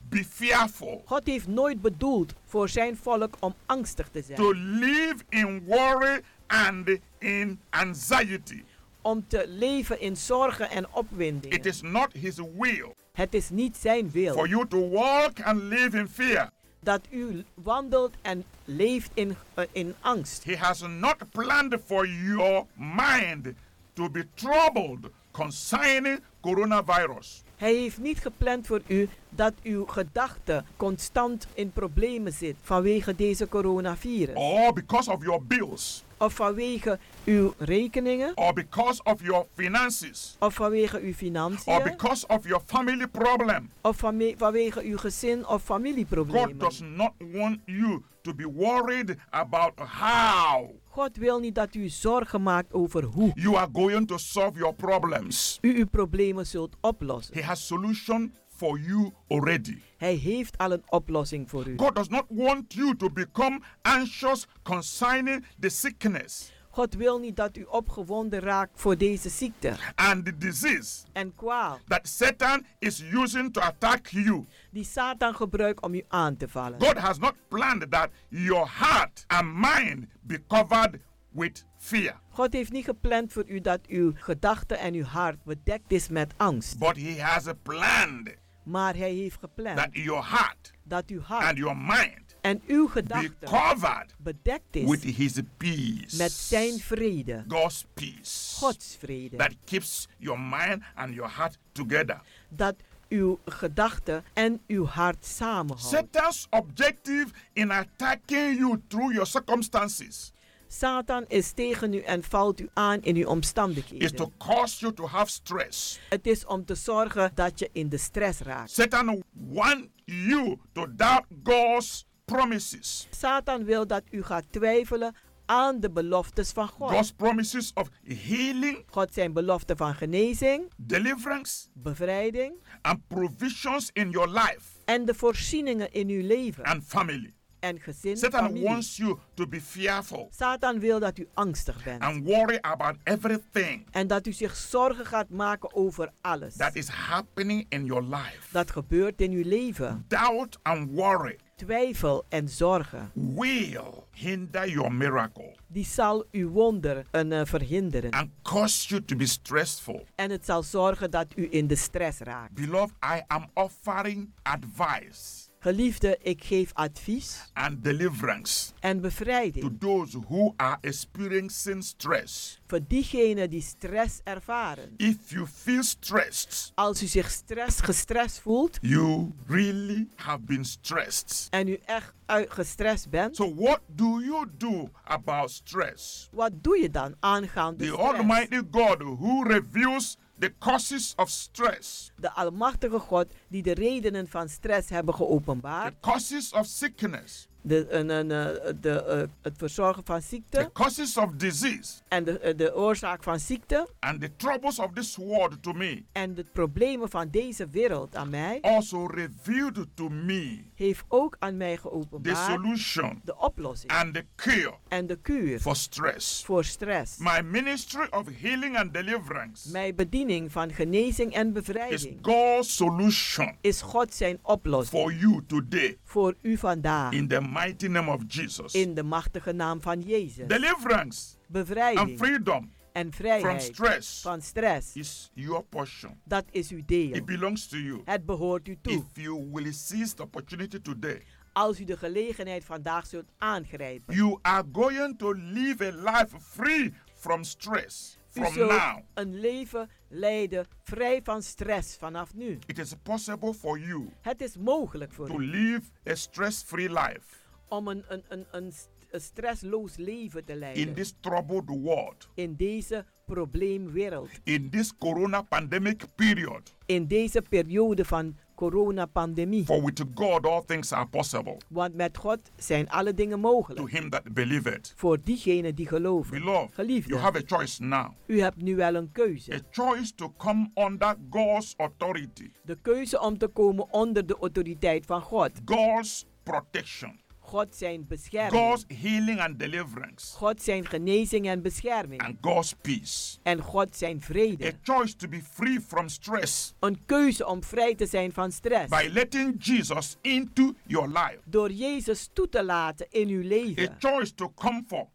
B: be fearful,
K: God heeft nooit bedoeld voor zijn volk om angstig te
B: to
K: zijn,
B: live in worry and in anxiety.
K: om te leven in zorgen en
B: It
K: opwindingen.
B: is not his will
K: Het is niet zijn
B: for
K: wil
B: you to walk and live in fear.
K: dat u wandelt en leeft in, eh, in angst.
B: He has not planned for your mind to be troubled concerning coronavirus.
K: Hij heeft niet gepland voor u dat uw gedachten constant in problemen zit vanwege deze coronavirus.
B: or because of your bills,
K: Of vanwege uw rekeningen,
B: or because of your finances,
K: of vanwege uw
B: or
K: financiën,
B: Oh, because of your family problem.
K: of vanwe- vanwege uw gezin of
B: God
K: familieproblemen.
B: does not want you to be worried about how
K: God wil niet dat u zorgen maakt over hoe.
B: you are going to solve your problems.
K: u uw problemen zult oplossen.
B: He has solution for you already.
K: Hij heeft al een oplossing voor u.
B: God does not want you to become anxious concerning the sickness
K: God wil niet dat u opgewonden raakt voor deze ziekte
B: and the disease
K: en kwaal
B: that Satan is using to attack you.
K: die Satan gebruikt om u aan te vallen.
B: God has not planned that your heart and mind be covered with fear,
K: God heeft niet gepland voor u dat uw gedachten en uw hart bedekt is met angst.
B: but He has planned
K: Maar hij heeft gepland
B: that your heart
K: dat uw
B: and
K: hart
B: your mind
K: en uw
B: be
K: gedachten
B: covered
K: bedekt
B: with
K: is
B: His peace,
K: met zijn vrede,
B: God's peace
K: Gods vrede.
B: that keeps your mind and your heart together.
K: Dat uw gedachten en uw hart samenhoudt.
B: Satan's objective in attacking you through your circumstances
K: Satan is tegen u en valt u aan in uw
B: is to
K: omstandigheden.
B: cause you to have stress.
K: Het is om te zorgen dat je in de stress raakt.
B: Satan wants you to doubt God's promises,
K: Satan wil dat u gaat twijfelen aan de beloftes van
B: God's
K: God.
B: promises of healing,
K: God zijn belofte van genezing,
B: deliverance,
K: bevrijding
B: and provisions in your life
K: en de voorzieningen in uw leven
B: and family.
K: en gezin.
B: Satan
K: familie.
B: wants you to be fearful
K: Satan wil dat u angstig bent
B: and worry about everything
K: en dat u zich zorgen gaat maken over alles.
B: that is happening in your life.
K: Dat gebeurt in uw leven.
B: Doubt and worry
K: Twijfel en zorgen,
B: will hinder your miracle
K: die zal uw wonder een, eh, verhinderen.
B: and cause you to be stressful.
K: En het zal zorgen dat u in de stress raakt.
B: Beloved, I am offering advice
K: Geliefde, ik geef advies
B: and deliverance
K: en
B: to
K: bevrijding
B: those who are experiencing stress.
K: voor diegenen die stress ervaren.
B: If you feel stressed,
K: Als u zich stress, gestrest voelt
B: you really have been stressed.
K: en u echt uit- gestrest bent,
B: So, what do you do about stress?
K: wat doe je dan aangaande
B: The
K: stress?
B: Almighty God who reveals the causes of stress,
K: De Almachtige God die de redenen van stress hebben
B: the
K: geopenbaard,
B: causes of sickness,
K: de, een, een, eh, de, eh, het verzorgen van
B: the
K: ziekte
B: causes of disease,
K: en de, eh, de oorzaak van ziekte
B: and the troubles of this world to me,
K: en de problemen van deze wereld aan mij,
B: also revealed to me
K: heeft ook aan mij
B: the
K: geopenbaard
B: solution
K: de oplossing
B: and the cure
K: en de kuur
B: for stress.
K: voor stress.
B: My ministry of healing and deliverance
K: Mijn bediening van genezing en
B: is
K: bevrijding
B: God's solution
K: is God zijn oplossing
B: for you today
K: voor u vandaag.
B: in the mighty name of Jesus.
K: In de machtige naam van Jezus.
B: Deliverance and
K: Bevrijding
B: freedom
K: en
B: from
K: vrijheid
B: stress
K: van stress.
B: is your portion.
K: Dat is uw deel.
B: It belongs to you.
K: Het behoort u toe.
B: If you will seize the opportunity today,
K: Als u de gelegenheid vandaag zult aangrijpen.
B: you are going to live a life free from stress
K: U
B: from
K: zult
B: now.
K: een leven leiden vrij van stress vanaf nu.
B: It is possible for you
K: Het is mogelijk voor
B: to
K: u
B: live a stress free life
K: om een, een, een, een, st- een stressloos leven te
B: in
K: leiden.
B: this troubled world.
K: In deze probleemwereld.
B: in this corona pandemic period.
K: In deze periode van coronapandemie.
B: For with God all things are possible
K: Want met God zijn alle dingen
B: to
K: mogelijk.
B: him that believeth.
K: Voor diegenen die geloven.
B: Beloved, you
K: Geliefde,
B: have a choice now.
K: u hebt nu wel een
B: A
K: keuze.
B: choice to come under God's authority,
K: De keuze om te komen onder de autoriteit van God.
B: God's protection,
K: God zijn bescherming.
B: God's healing and deliverance,
K: God zijn genezing en bescherming.
B: and God's peace.
K: En God zijn
B: A
K: vrede.
B: choice to be free from stress
K: Een keuze om vrij te zijn van
B: by
K: stress.
B: letting Jesus into your life.
K: Door Jezus toe te laten in uw
B: A
K: leven.
B: choice to come for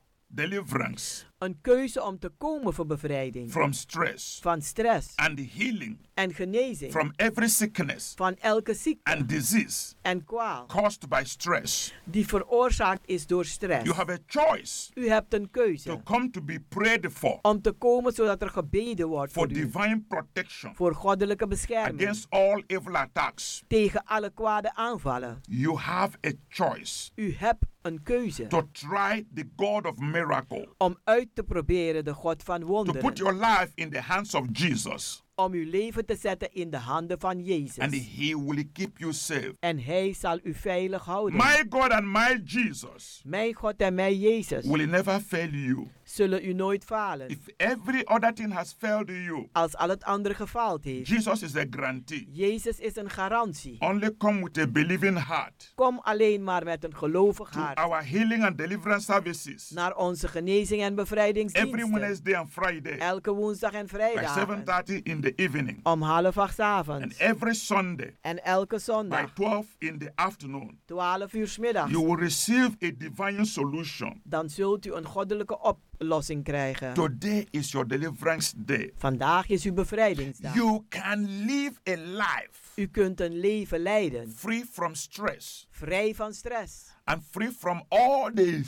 B: deliverance
K: Een keuze om te komen voor bevrijding.
B: from stress
K: Van stress
B: and healing
K: en genezing.
B: from every sickness
K: Van elke ziekte
B: and disease.
K: en kwaal.
B: caused by stress.
K: Die veroorzaakt is door stress.
B: You have a choice
K: U hebt een
B: to
K: keuze
B: come to be prayed for
K: om te komen zodat er gebeden wordt
B: for
K: voor u.
B: divine protection
K: Voor goddelijke bescherming.
B: against all evil attacks.
K: Tegen alle kwade aanvallen.
B: You have a choice
K: U hebt een keuze
B: to try the God of miracle,
K: om uit te proberen de God van
B: to put
K: wonderen.
B: your life in the hands of Jesus,
K: om uw leven te zetten in de handen van Jezus.
B: and he will keep you safe.
K: en hij zal u veilig houden.
B: My God and my Jesus
K: mijn God en mijn Jezus
B: will never fail you.
K: zullen u nooit falen.
B: If every other thing has failed you,
K: Als al het andere gefaald heeft.
B: Jesus is a guarantee.
K: Jezus is een garantie.
B: Only come with a believing heart
K: Kom alleen maar met een gelovig
B: to
K: hart
B: our healing and deliverance services
K: naar onze genezing en
B: every
K: bevrijdingsdiensten.
B: Wednesday and Friday
K: Elke woensdag en
B: by
K: vrijdag
B: 7:30 in the evening
K: om half acht 's avonds.
B: and every Sunday
K: En elke
B: e- by
K: zondag
B: 12 in the afternoon.
K: 12 uur 's middags.
B: You will receive a divine solution.
K: Dan zult u een goddelijke oplossing krijgen.
B: Today is your deliverance day.
K: Vandaag is uw bevrijdingsdag.
B: You can live a life
K: U kunt een leven leiden
B: free from stress
K: vrij van stress
B: and free from all the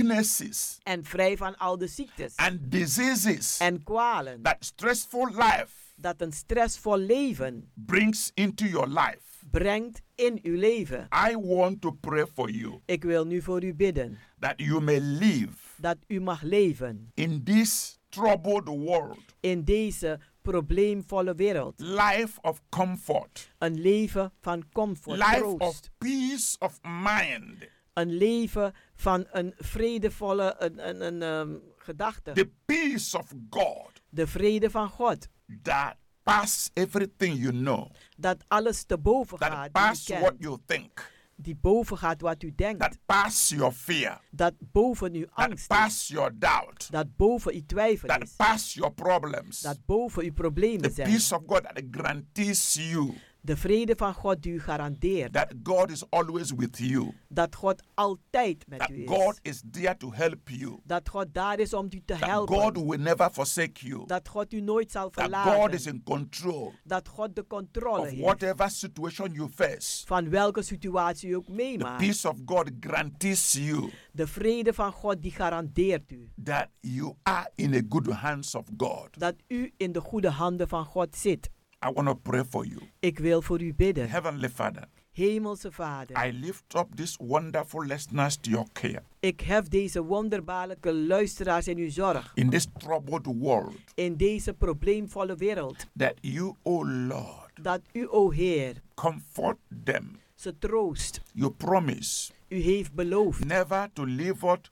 B: sicknesses
K: en vrij van al de ziektes
B: and diseases
K: en kwalen
B: that stressful life
K: dat een stressvol leven
B: brings into your life.
K: brengt in uw leven.
B: I want to pray for you
K: Ik wil nu voor u bidden
B: that you may live
K: dat u mag leven
B: in this troubled world,
K: in deze probleemvolle wereld.
B: life of comfort,
K: Een leven van comfort,
B: life of
K: troost.
B: peace of mind,
K: Een leven van een vredevolle een, een, een, ehm, gedachte.
B: the peace of God
K: De vrede van God.
B: that pass everything you know,
K: Dat alles te boven
B: that
K: gaat die u
B: pass what
K: kent.
B: you think,
K: Die boven gaat wat u denkt.
B: that pass your fear,
K: Dat boven uw
B: that
K: angst is.
B: pass your doubt,
K: Dat boven uw twijfel
B: that
K: is.
B: pass your problems.
K: Dat boven uw
B: The
K: problemen zijn.
B: peace of God that guarantees you
K: De vrede van God die u garandeert.
B: that God is always with you.
K: Dat God altijd met
B: that
K: u
B: God
K: is.
B: is there to help you.
K: Dat God daar is om u te
B: That God
K: helpen.
B: will never forsake you.
K: Dat God u nooit zal
B: That God is
K: verlaten.
B: in control
K: Dat God de controle
B: of
K: heeft.
B: whatever situation you face.
K: Van welke situatie u ook
B: The
K: meemaakt.
B: peace of God guarantees you
K: De vrede van God die garandeert u.
B: that you are in the good hands of God.
K: Dat u in de goede handen van God zit.
B: I want to pray for you.
K: Ik wil voor u bidden.
B: Heavenly Father,
K: Hemelse Vader.
B: I lift up these wonderful listeners to your care.
K: Ik hef deze wonderbaarlijke luisteraars in uw zorg.
B: In this troubled world,
K: In deze probleemvolle wereld.
B: that you, O Lord,
K: Dat u, o Heer,
B: comfort them.
K: ze troost.
B: You promise
K: U heeft beloofd
B: never to leave us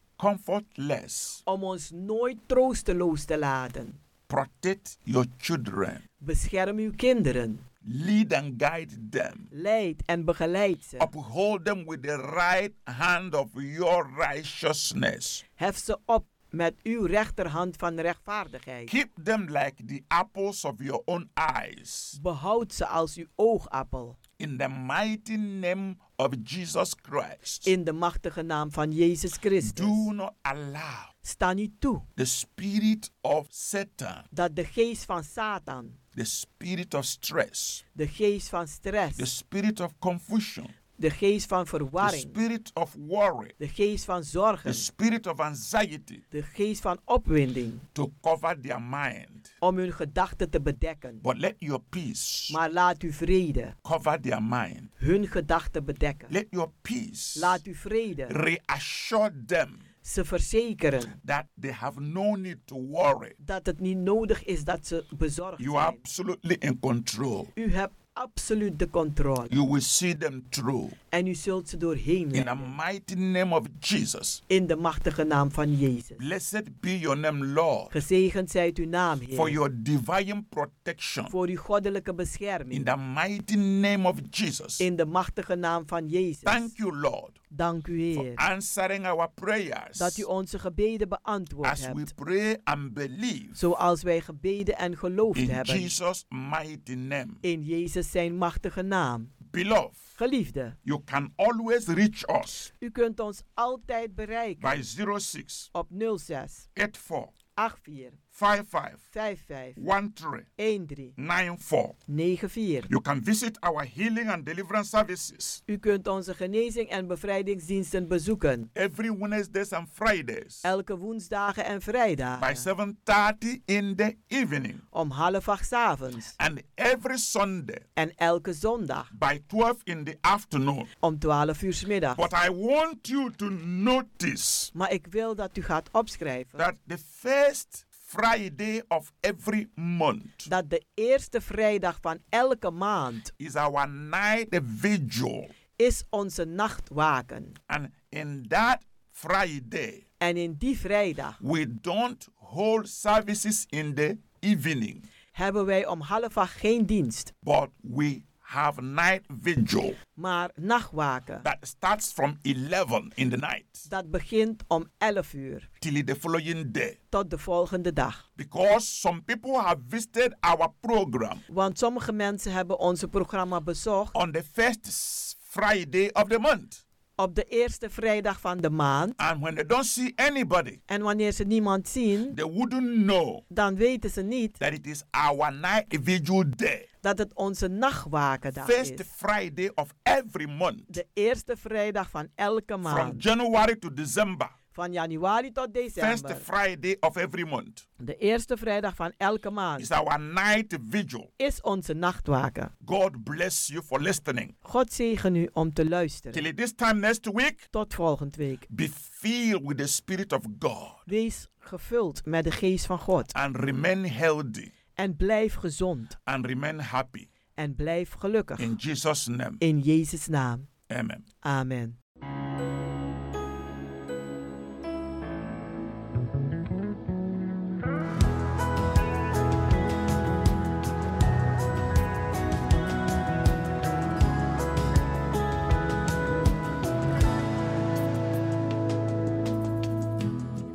B: comfortless.
K: om ons nooit troosteloos te laten.
B: protect your children,
K: Bescherm uw kinderen.
B: lead and guide them,
K: Leid en begeleid ze.
B: uphold them with the right hand of your righteousness.
K: Hef ze op met uw rechterhand van rechtvaardigheid.
B: Keep them like the apples of your own eyes.
K: Behoud ze als uw oogappel.
B: In the mighty name of Jesus Christ,
K: In de machtige naam van Jezus Christus.
B: do not allow
K: Sta niet toe
B: the spirit of Satan,
K: dat de geest van Satan,
B: the spirit of stress,
K: de geest van
B: the
K: stress,
B: spirit of confusion,
K: de geest van
B: the
K: verwarring,
B: spirit of worry,
K: de geest van
B: the
K: zorgen,
B: spirit of anxiety
K: de geest van opwinding,
B: to cover their mind.
K: om hun gedachten te bedekken.
B: But let your peace
K: Maar laat uw vrede
B: cover their mind.
K: hun gedachten bedekken.
B: Let your peace
K: Laat uw vrede
B: reassure them
K: ze verzekeren
B: that they have no need to worry.
K: dat het niet nodig is dat ze bezorgd
B: You are
K: zijn.
B: absolutely in control.
K: U hebt absoluut de controle
B: You will see them through.
K: en u zult ze doorheen
B: In the
K: leiden.
B: mighty name of Jesus.
K: In de machtige naam van Jezus.
B: Blessed be your name, Lord,
K: Gezegend zijt uw naam,
B: for
K: Heer,
B: your divine protection.
K: voor uw goddelijke
B: In
K: bescherming.
B: the mighty name of Jesus.
K: In de machtige naam van Jezus.
B: Thank you, Lord,
K: Dank u,
B: for
K: Heer,
B: answering our prayers
K: dat u onze gebeden beantwoord
B: as we
K: hebt.
B: pray and believe
K: Zoals wij gebeden en geloofd
B: in
K: hebben.
B: Jesus' mighty name.
K: In Jezus zijn machtige naam.
B: Beloved,
K: Geliefde,
B: you can always reach us
K: u kunt ons altijd bereiken
B: by 06
K: op 06
B: 84
K: 84
B: 55
K: 55
B: 13
K: 13
B: 94.
K: 94.
B: You can visit our healing and deliverance services
K: U kunt onze genezing en bevrijdingsdiensten bezoeken.
B: every Wednesdays and Fridays
K: Elke woensdagen en
B: by
K: vrijdagen
B: 7:30 in the evening
K: om half acht 's avonds.
B: and every Sunday
K: En elke zondag
B: by 12 in the afternoon.
K: om 12 uur 's middag.
B: But I want you to notice
K: Maar ik wil dat u gaat opschrijven
B: that the first Friday of every month
K: dat de eerste vrijdag van elke maand
B: is our night vigil.
K: is onze nachtwaken.
B: And in that Friday,
K: En in die vrijdag
B: we don't hold services in the evening,
K: hebben wij om half acht geen dienst,
B: but we have night vigil
K: maar nachtwaken.
B: that starts from 11 in the night
K: Dat begint om 11 uur
B: till the following day.
K: tot de volgende dag.
B: Because some people have visited our program
K: Want sommige mensen hebben onze programma bezocht
B: on the first s- Friday of the month.
K: op de eerste vrijdag van de maand.
B: And when they don't see anybody,
K: En wanneer ze niemand zien,
B: they wouldn't know
K: dan weten ze niet
B: that it is our night vigil day.
K: dat het onze nachtwakendag
B: First
K: is.
B: Friday of every month,
K: De eerste vrijdag van elke
B: from
K: maand.
B: January to December.
K: Van januari tot
B: First
K: december.
B: Friday of every month
K: De eerste vrijdag van elke
B: is
K: maand
B: our night vigil.
K: is onze nachtwaken.
B: God bless you for listening.
K: God zegen u om te luisteren.
B: Till this time next week,
K: Tot volgende week.
B: be filled with the Spirit of God
K: Wees gevuld met de geest van God.
B: and remain healthy
K: En blijf gezond.
B: and remain happy.
K: En blijf gelukkig.
B: In Jesus' name,
K: In Jezus' naam.
B: amen.
K: Amen.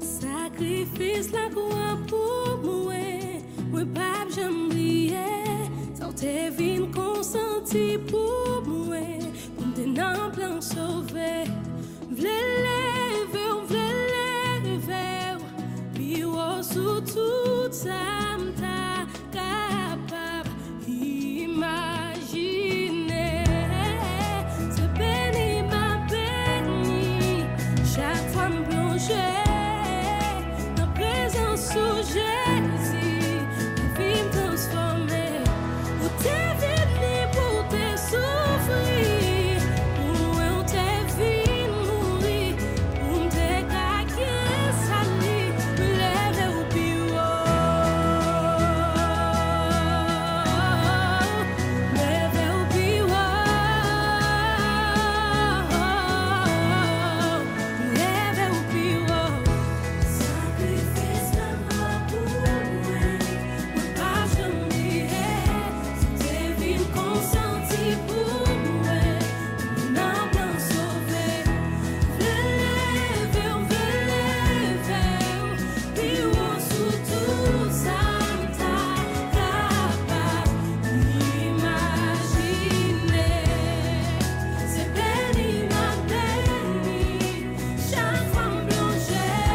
L: Sacrifice la croix pour moi, moi pape j'aime briller, sans tes vins consentis pour moi, pour tes noms plein sauvé. Vle leve, vle leve, biwo sous tout samta capable imaginer. Se béni ma béni, chaque fois me plonger, dans présence où Jésus, la vie me transformer. Où t'es venu pour te souffrir, où est t'es venu mourir, où t'es caqué sali, me lève au bureau. Lève au bureau. Lève au bureau. Sacrifice la mort pour moi, moi pas je m'irai. Tes villes consenties pour moi, n'a bien sauvé. Lève, lève, puis on sous tout Santa capable d'imaginer. C'est béni ma béni, chaque femme plongée,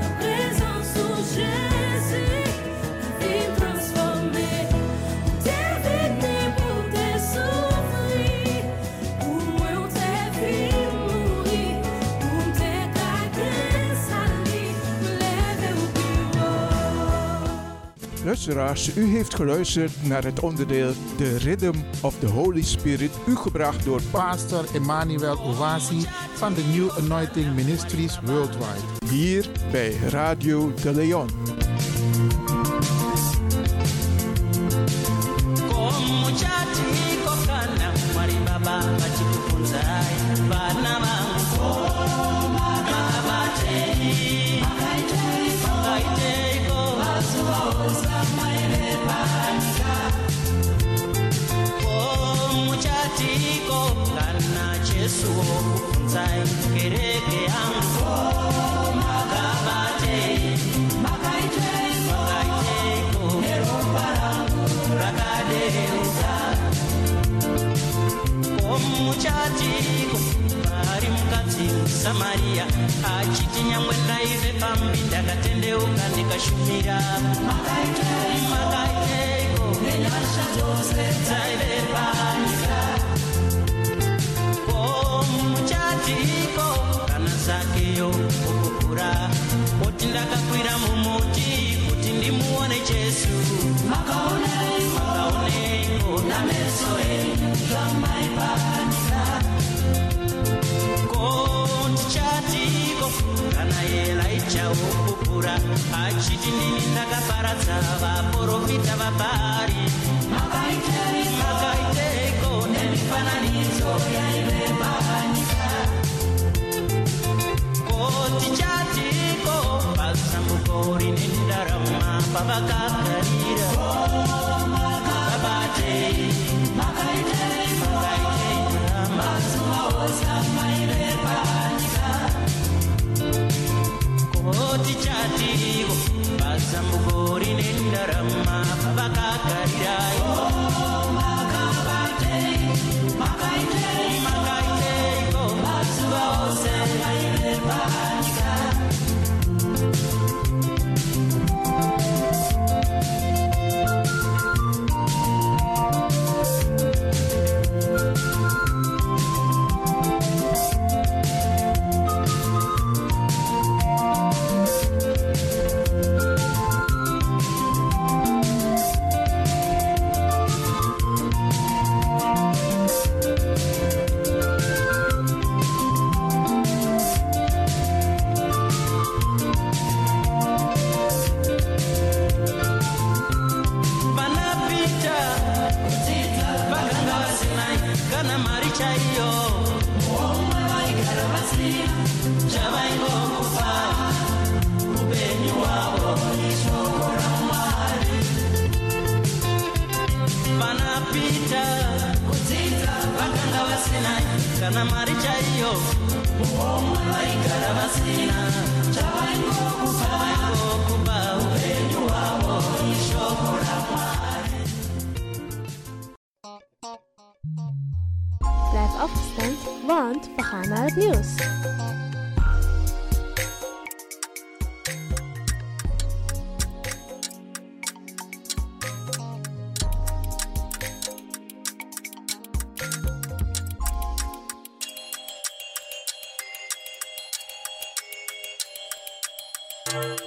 L: la présence où Jésus, la vie transformée. T'es venu pour te souffrir, pour moi on t'est vu mourir, pour t'es cagué sali, lève au bureau.
M: Luisteraars, u heeft geluisterd naar het onderdeel The Rhythm of the Holy Spirit, u gebracht door
N: Pastor Emmanuel Owasi van de New Anointing Ministries Worldwide.
M: hier bij Radio de Leon.
O: Como chati kokana mwari baba vachikukunzai vana vangu makabatei makaiteiko komuchatiko kana chesuwo kukunzai kereke yangu makabatei makaiteiko rakadeuka omuchatiko ari mukadzi musamariya achiti nyangwe ndaive pambi ndakatendeuka ndikashumira makaiteiko nenyasha dzose dzaive panyika komuchatiko kana zakeyo kukukura kuti ndakakwira mumuti kuti ndimuone jesu makaoneiko nameso enyu zvamaipanika kotichatiko
K: kana elaijawo kupura achiti ndini ndakaparadza vaprofita vabhari makaiteiko nemifananidzo yaireba nyika kotichatiko pasambuko rine ndarama pavakagarira vabatei makaiteiko mazuva ose amaireba nyika kotichatiko pasambuko rine ndarama pavakagarirayo makaiteiko mazuva ose ailepanyika vana pita vakanga vasina kana mari chaiyo umwe vaigara vasina chavaingokufa upenyu hwavo ishoko ramwari vana pita vakanga vasina kana mari chaiyo umwe vaigara vasina chavaingokufa upenyu hwavo ishoko ramwari
A: Blijf afgestemd, want we gaan naar het nieuws.
K: Thank you.